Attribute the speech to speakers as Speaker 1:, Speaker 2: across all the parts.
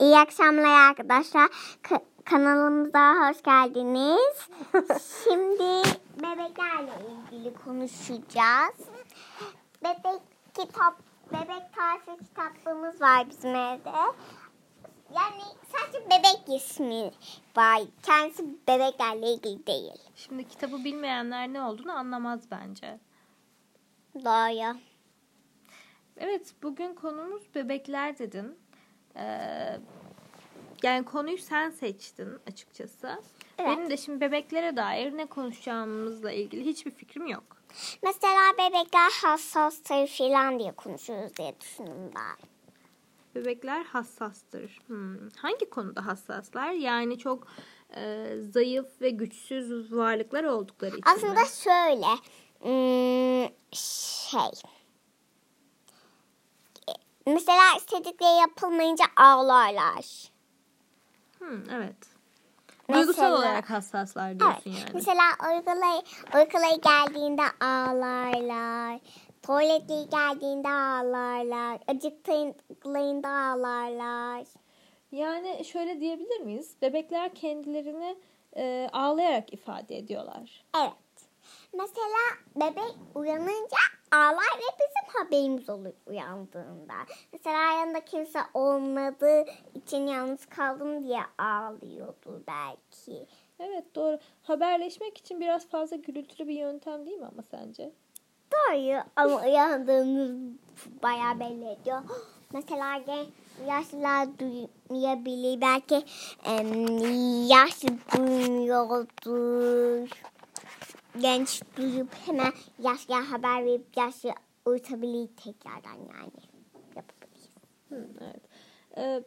Speaker 1: İyi akşamlar arkadaşlar. Ka- kanalımıza hoş geldiniz. Şimdi bebeklerle ilgili konuşacağız. Bebek kitap, bebek tarifi kitaplığımız var bizim evde. Yani sadece bebek ismi var. Kendisi bebeklerle ilgili değil.
Speaker 2: Şimdi kitabı bilmeyenler ne olduğunu anlamaz bence.
Speaker 1: Doğru.
Speaker 2: Evet, bugün konumuz bebekler dedin. Ee, yani konuyu sen seçtin açıkçası.
Speaker 1: Evet.
Speaker 2: Benim de şimdi bebeklere dair ne konuşacağımızla ilgili hiçbir fikrim yok.
Speaker 1: Mesela bebekler hassastır falan diye konuşuruz diye düşündüm ben.
Speaker 2: Bebekler hassastır. Hmm, Hangi konuda hassaslar? Yani çok e, zayıf ve güçsüz varlıklar oldukları için. mi?
Speaker 1: Aslında şöyle hmm, şey E, mesela istedikleri yapılmayınca ağlarlar.
Speaker 2: Hmm, evet.
Speaker 1: Mesela-
Speaker 2: Duygusal olarak hassaslar
Speaker 1: Evet.
Speaker 2: diyorsun yani.
Speaker 1: Mesela uykulay, uykulay geldiğinde ağlarlar. Tuvalete geldiğinde ağlarlar. Acıktığında ağlarlar.
Speaker 2: Yani şöyle diyebilir miyiz? Bebekler kendilerini e, ağlayarak ifade ediyorlar.
Speaker 1: Evet. Mesela bebek uyanınca ağlar ve bizim haberimiz olur uyandığında. Mesela yanında kimse olmadığı için yalnız kaldım diye ağlıyordu belki.
Speaker 2: Evet doğru. Haberleşmek için biraz fazla gürültülü bir yöntem değil mi ama sence?
Speaker 1: Doğru ama uyandığımız bayağı belli ediyor. Mesela gen- yaşlılar duymayabilir. Belki em, yaşlı duymuyordur. Genç duyup hemen yaşlıya haber verip yaşlı uyutabilir tekrardan yani. Yapabilir.
Speaker 2: Hı, evet. E,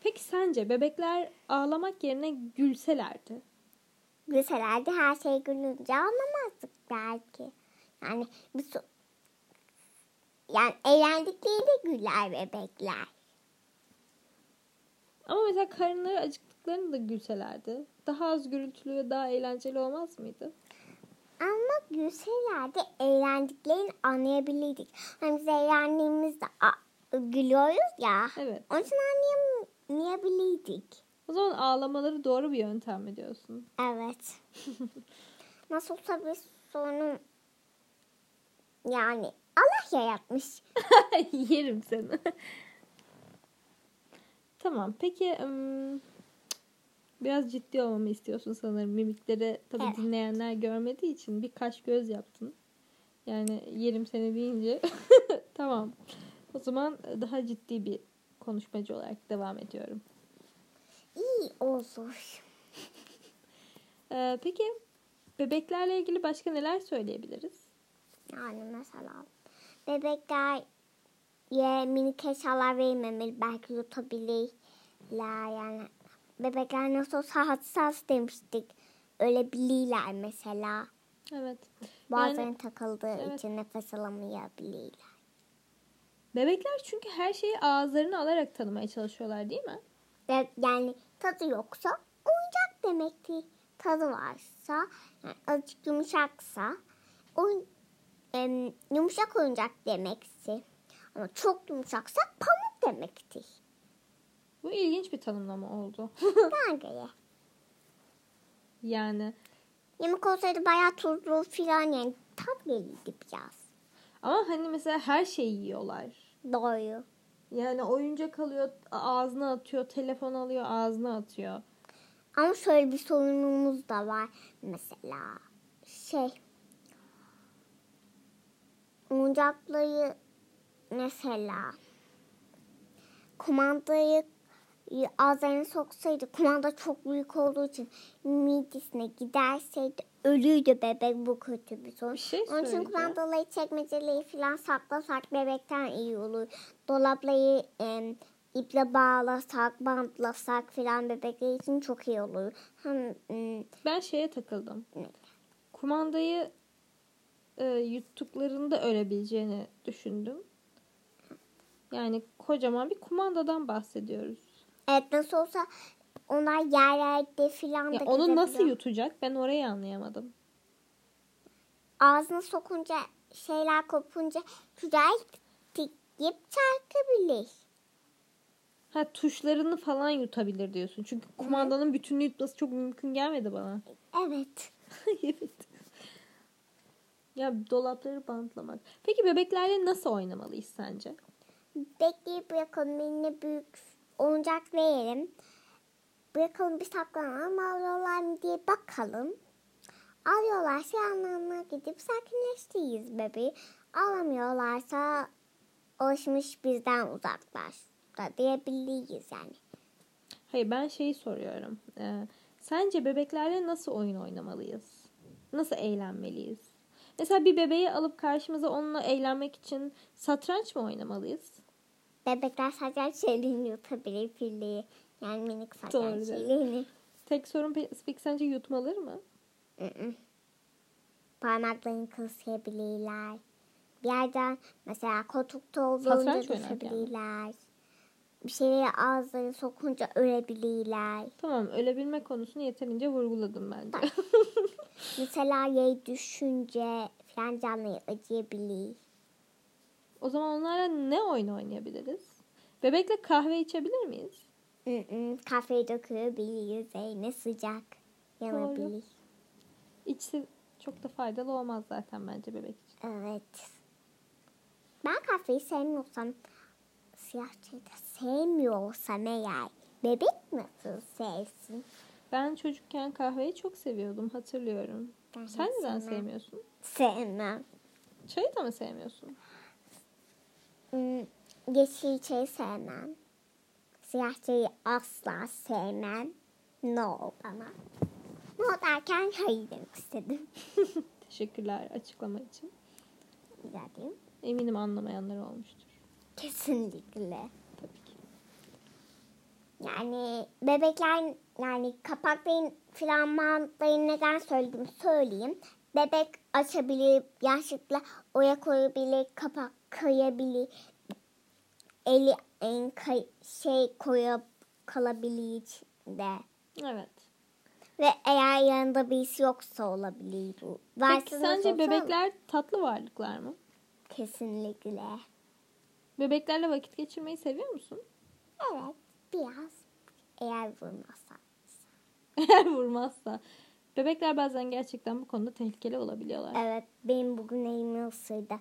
Speaker 2: peki sence bebekler ağlamak yerine gülselerdi?
Speaker 1: Mesela de her şey gülünce anlamazdık belki. Yani bir so- yani eğlendikleri güler bebekler.
Speaker 2: Ama mesela karınları acıktıklarında gülselerdi. Daha az gürültülü ve daha eğlenceli olmaz mıydı?
Speaker 1: Ama gülselerde eğlendiklerini anlayabilirdik. Hani biz eğlendiğimizde a- gülüyoruz ya.
Speaker 2: Evet.
Speaker 1: Onun için anlayamayabilirdik.
Speaker 2: O zaman ağlamaları doğru bir yöntem mi diyorsun?
Speaker 1: Evet. Nasıl olsa bir sorun yani Allah yaratmış.
Speaker 2: Yerim seni. tamam. Peki ım, biraz ciddi olmamı istiyorsun sanırım. Mimikleri tabii
Speaker 1: Evet.
Speaker 2: dinleyenler görmediği için bir kaş göz yaptın. Yani yerim seni deyince tamam. O zaman daha ciddi bir konuşmacı olarak devam ediyorum.
Speaker 1: İyi olur.
Speaker 2: Ee, peki bebeklerle ilgili başka neler söyleyebiliriz?
Speaker 1: Yani mesela bebekler ye minik eşyalar vermemeli belki yutabilirler yani. Bebekler nasıl olsa hassas demiştik. Ölebilirler mesela.
Speaker 2: Evet.
Speaker 1: Bazen
Speaker 2: Yani-
Speaker 1: takıldığı
Speaker 2: evet.
Speaker 1: için nefes alamayabilirler.
Speaker 2: Bebekler çünkü her şeyi ağızlarına alarak tanımaya çalışıyorlar değil mi?
Speaker 1: Ve yani tadı yoksa oyuncak demekti. Tadı varsa yani azıcık yumuşaksa oyun, em, yumuşak oyuncak demekti. Ama çok yumuşaksa pamuk demekti.
Speaker 2: Bu ilginç bir tanımlama oldu.
Speaker 1: Ben göre.
Speaker 2: Yani
Speaker 1: Yemek olsaydı bayağı tuzlu filan yani tat verirdi biraz.
Speaker 2: ama hani mesela her şeyi yiyorlar.
Speaker 1: Doğru.
Speaker 2: Yani oyuncak alıyor a- ağzına atıyor, telefon alıyor ağzına atıyor.
Speaker 1: Ama şöyle bir sorunumuz da var. Mesela şey oyuncakları mesela kumandayı ağzına soksaydı kumanda çok büyük olduğu için midesine giderseydi ölüydü bebek bu kötü bir sorun.
Speaker 2: Bir şey
Speaker 1: Onun için
Speaker 2: söyleyeceğim.
Speaker 1: kumandalayı çekmeceliği falan saklasak bebekten iyi olur. Dolaplayı em, iple bağlasak, bantlasak falan bebekler için çok iyi olur. Hem em,
Speaker 2: Ben şeye takıldım.
Speaker 1: Ne?
Speaker 2: Kumandayı e, yuttuklarında ölebileceğini düşündüm. Yani kocaman bir kumandadan bahsediyoruz.
Speaker 1: evet nasıl olsa onlar yerlerde falan
Speaker 2: Ya
Speaker 1: da
Speaker 2: onu nasıl
Speaker 1: gezebiliyor.
Speaker 2: yutacak? Ben orayı anlayamadım.
Speaker 1: Ağzına sokunca şeyler kopunca güzel tik yiyip çarkabilir.
Speaker 2: Ha, Ha tuşlarını falan yutabilir diyorsun. Çünkü kumandanın bütününü yutması çok mümkün gelmedi bana.
Speaker 1: Evet.
Speaker 2: evet. Ya dolapları bantlamak. Peki bebeklerle nasıl oynamalıyız sence?
Speaker 1: Bekleyip bırakalım eline büyük oyuncak verelim. Bırakalım bir saklanalım alıyorlar mı diye bakalım. Alıyorlarsa yanlarına gidip sakinleştiriyiz bebeği. Alamıyorlarsa alışmış bizden uzaklaştı diyebiliriz yani.
Speaker 2: Hayır ben şeyi soruyorum. Ee, sence bebeklerle nasıl oyun oynamalıyız? Nasıl eğlenmeliyiz? Mesela bir bebeği alıp karşımıza onunla eğlenmek için satranç mı oynamalıyız?
Speaker 1: Bebekler sadece şeylerini yutabilir pilliği. Yani minik
Speaker 2: Doğru.
Speaker 1: sadece şeylerini.
Speaker 2: Tek sorun pe- peki sence yutmaları mı?
Speaker 1: Mm-mm. Parmaklarını kısayabilirler. Bir yerden mesela koltukta olduğunda
Speaker 2: Satranç oynarken mi?
Speaker 1: düşebilirler. Bir şeyleri ağızlarına sokunca ölebilirler.
Speaker 2: Tamam ölebilme konusunu yeterince vurguladım bence.
Speaker 1: Mesela yay düşünce falan canlı acıyabilir.
Speaker 2: o zaman onlarla ne oyun oynayabiliriz? Bebekle kahve içebilir miyiz?
Speaker 1: Mm-mm. Kafayı dökülebilir. Zeyne sıcak yanabilir.
Speaker 2: İçse çok da faydalı olmaz zaten bence bebek için.
Speaker 1: Evet. Ben kahveyi sevmiyorsam siyah çayı da sevmiyorsam eğer bebek nasıl sevsin?
Speaker 2: Ben çocukken kahveyi çok seviyordum hatırlıyorum.
Speaker 1: Ben
Speaker 2: Sen neden
Speaker 1: sevmem.
Speaker 2: sevmiyorsun?
Speaker 1: Sevmem.
Speaker 2: Çayı da mı sevmiyorsun?
Speaker 1: Hmm, yeşil çayı sevmem. Siyah çayı asla sevmem. No bana. No derken hayır demek istedim.
Speaker 2: Teşekkürler açıklama için.
Speaker 1: Güzel değil mi?
Speaker 2: Eminim anlamayanlar olmuştur.
Speaker 1: Kesinlikle.
Speaker 2: Tabii ki.
Speaker 1: Yani bebekler yani kapakların filan mantığını neden söyledim söyleyeyim. Bebek açabilir, yaşlıkla oya koyabilir, kapak kayabilir. Eli en kay- şey koyup kalabilir içinde.
Speaker 2: Evet.
Speaker 1: Ve eğer yanında birisi yoksa olabilir bu.
Speaker 2: Peki
Speaker 1: Varsınız
Speaker 2: sence
Speaker 1: olsa-
Speaker 2: bebekler tatlı varlıklar mı?
Speaker 1: Kesinlikle.
Speaker 2: Bebeklerle vakit geçirmeyi seviyor musun?
Speaker 1: Evet biraz. Eğer vurmazsa.
Speaker 2: Eğer vurmazsa. Bebekler bazen gerçekten bu konuda tehlikeli olabiliyorlar.
Speaker 1: Evet benim bugün elimi ısırdı.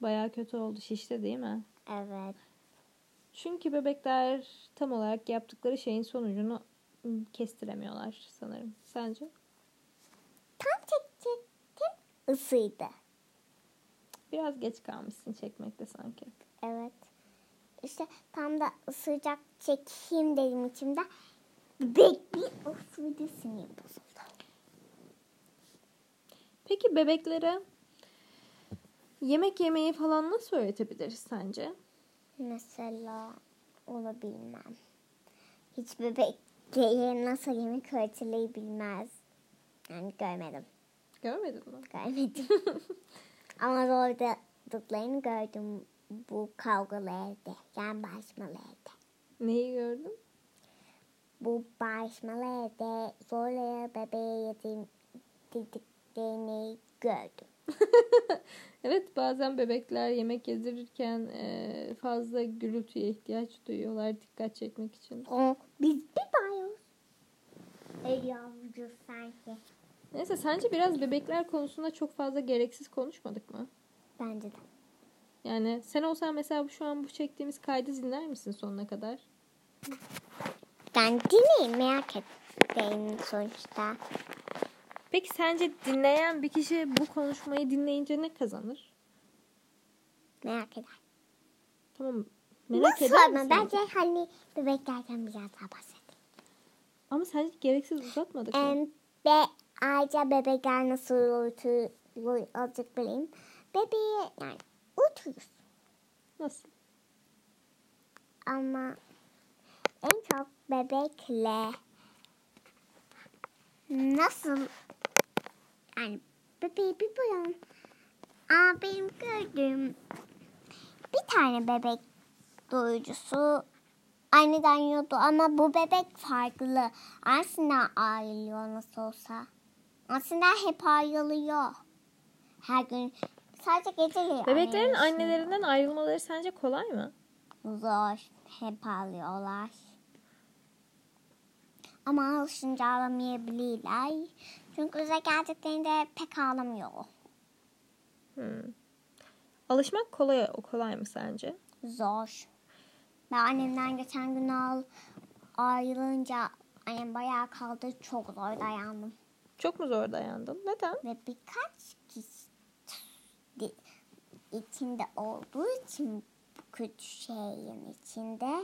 Speaker 2: Bayağı kötü oldu şişte değil mi?
Speaker 1: Evet.
Speaker 2: Çünkü bebekler tam olarak yaptıkları şeyin sonucunu ım, kestiremiyorlar sanırım. Sence?
Speaker 1: Tam çekecektim ısıydı.
Speaker 2: Biraz geç kalmışsın çekmekte sanki.
Speaker 1: Evet. İşte tam da ısıracak çekeyim dedim içimde. Bekli ısırdı sinir bozuldu.
Speaker 2: Peki bebeklere yemek yemeyi falan nasıl öğretebiliriz sence?
Speaker 1: Mesela onu bilmem. Hiç bebek geyiğe nasıl yemek öğretilir bilmez. Yani görmedim.
Speaker 2: Görmedin mi?
Speaker 1: Görmedim. Ama zorladıklarını gördüm bu kavgalı evde. Yani barışmalı evde.
Speaker 2: Neyi gördün?
Speaker 1: Bu barışmalı evde zorla bebeğe yedim dediklerini gördüm.
Speaker 2: Evet bazen bebekler yemek yedirirken e, fazla gürültüye ihtiyaç duyuyorlar dikkat çekmek için.
Speaker 1: O biz bir bayıyoruz. Ey yavrucu sanki.
Speaker 2: Neyse sence biraz bebekler konusunda çok fazla gereksiz konuşmadık mı?
Speaker 1: Bence de.
Speaker 2: Yani sen olsan mesela şu an bu çektiğimiz kaydı dinler misin sonuna kadar?
Speaker 1: Ben dinleyeyim merak ettim sonuçta.
Speaker 2: Peki sence dinleyen bir kişi bu konuşmayı dinleyince ne kazanır?
Speaker 1: Merak eder.
Speaker 2: Tamam merak
Speaker 1: Merak
Speaker 2: eder
Speaker 1: Nasıl ama
Speaker 2: misin?
Speaker 1: bence hani bebeklerden biraz daha bahsedelim.
Speaker 2: Ama sence gereksiz uzatmadık mı?
Speaker 1: Em, ve ayrıca bebekler nasıl uyutur olacak bileyim. Bebeği yani uyuturuz.
Speaker 2: Nasıl?
Speaker 1: Ama en çok bebekle nasıl yani bebeği bir bulalım. Aa, benim gördüğüm bir tane bebek doyucusu anneden yiyordu ama bu bebek farklı. Aslında ayrılıyor nasıl olsa. Aslında hep ayrılıyor. Her gün sadece geceleri
Speaker 2: Bebeklerin
Speaker 1: annelerin
Speaker 2: annelerinden ayrılmaları sence kolay mı?
Speaker 1: Zor. hep ağlıyorlar. Ama alışınca ağlamayabilirler. Çünkü bize geldiklerinde pek ağlamıyor.
Speaker 2: Hmm. Alışmak kolay, o kolay mı sence?
Speaker 1: Zor. Ben annemden geçen gün al, ayrılınca annem bayağı kaldı. Çok zor dayandım.
Speaker 2: Çok mu zor dayandın? Neden?
Speaker 1: Ve birkaç kişi de- içinde olduğu için bu kötü şeyin içinde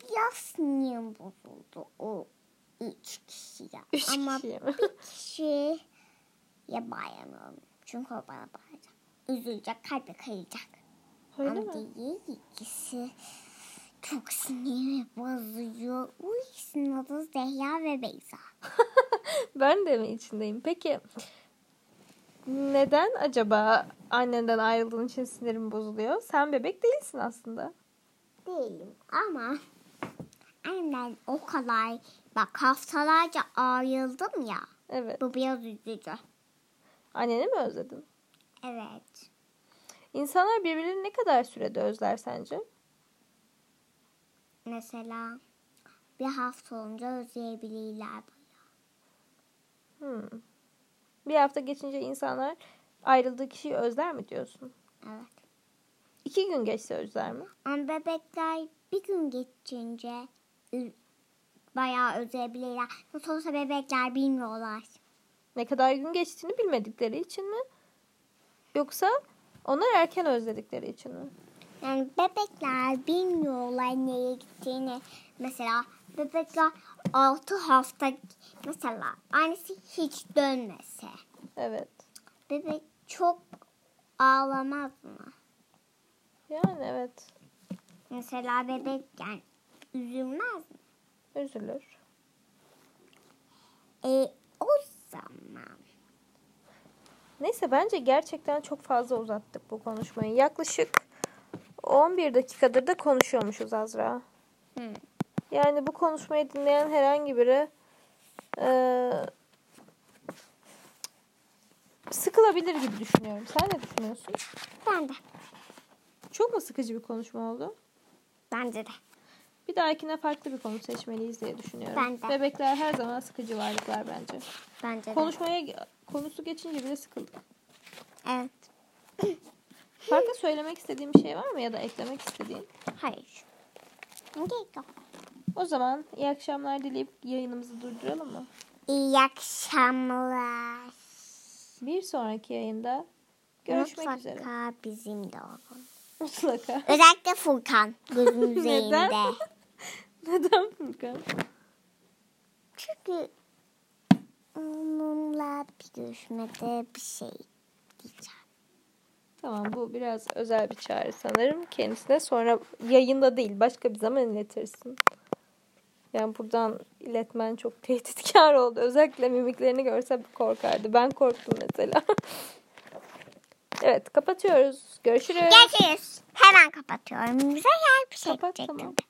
Speaker 1: biraz sinirim bozuldu o üç kişiye.
Speaker 2: Üç
Speaker 1: Ama
Speaker 2: kişiye mi?
Speaker 1: kişiye bayamıyorum. Çünkü o bana bağıracak. Üzülecek, kalbi kayacak.
Speaker 2: Öyle
Speaker 1: Ama
Speaker 2: mi?
Speaker 1: diğer ikisi çok sinirimi bozuyor. Bu ikisinin adı Zehra ve Beyza.
Speaker 2: Ben de mi içindeyim? Peki neden acaba annenden ayrıldığın için sinirim bozuluyor? Sen bebek değilsin aslında.
Speaker 1: Değilim ama annemden o kadar bak haftalarca ayrıldım ya.
Speaker 2: Evet.
Speaker 1: Bu biraz üzücü.
Speaker 2: Anneni mi özledin?
Speaker 1: Evet.
Speaker 2: İnsanlar birbirini ne kadar sürede özler sence?
Speaker 1: Mesela bir hafta olunca özleyebilirler.
Speaker 2: Hmm. Bir hafta geçince insanlar ayrıldığı kişiyi özler mi diyorsun?
Speaker 1: Evet.
Speaker 2: İki gün geçse özler mi?
Speaker 1: Ama bebekler bir gün geçince ü- bayağı özleyebilirler. Nasıl olsa bebekler bilmiyorlar.
Speaker 2: Ne kadar gün geçtiğini bilmedikleri için mi? Yoksa onlar erken özledikleri için mi?
Speaker 1: Yani bebekler bilmiyorlar neye gittiğini. Mesela bebekler 6 hafta mesela annesi hiç dönmese.
Speaker 2: Evet.
Speaker 1: Bebek çok ağlamaz mı?
Speaker 2: Yani evet.
Speaker 1: Mesela bebek yani üzülmez mi?
Speaker 2: Üzülür.
Speaker 1: E, o zaman
Speaker 2: Neyse bence gerçekten çok fazla uzattık bu konuşmayı. Yaklaşık 11 dakikadır da konuşuyormuşuz Azra.
Speaker 1: Hı.
Speaker 2: Yani bu konuşmayı dinleyen herhangi biri e, eee, sıkılabilir gibi düşünüyorum. Sen ne düşünüyorsun?
Speaker 1: ben de
Speaker 2: Çok mu sıkıcı bir konuşma oldu?
Speaker 1: bence de
Speaker 2: Bir dahakine farklı bir konu seçmeliyiz diye düşünüyorum.
Speaker 1: Ben de.
Speaker 2: Bebekler her zaman sıkıcı varlıklar bence.
Speaker 1: bence de.
Speaker 2: Konuşmaya konusu geçince bile sıkıldık.
Speaker 1: Evet.
Speaker 2: Farklı söylemek istediğim bir şey var mı ya da eklemek istediğin?
Speaker 1: Hayır. Gerek yok.
Speaker 2: O zaman iyi akşamlar dileyip yayınımızı durduralım mı?
Speaker 1: İyi akşamlar.
Speaker 2: Bir sonraki yayında görüşmek
Speaker 1: Mutlaka
Speaker 2: üzere.
Speaker 1: bizim de olun.
Speaker 2: Mutlaka.
Speaker 1: Özellikle Furkan gözüm
Speaker 2: Neden?
Speaker 1: üzerinde.
Speaker 2: Neden Furkan?
Speaker 1: Çünkü onunla bir görüşmede bir şey diyeceğim.
Speaker 2: Tamam bu biraz özel bir çağrı sanırım. Kendisine sonra yayında değil başka bir zaman iletirsin. Yani buradan iletmen çok tehditkar oldu. Özellikle mimiklerini görse korkardı. Ben korktum mesela. evet kapatıyoruz. Görüşürüz.
Speaker 1: Görüşürüz. Hemen kapatıyorum. Güzel bir şey
Speaker 2: Kapat,
Speaker 1: diyecektim.
Speaker 2: tamam.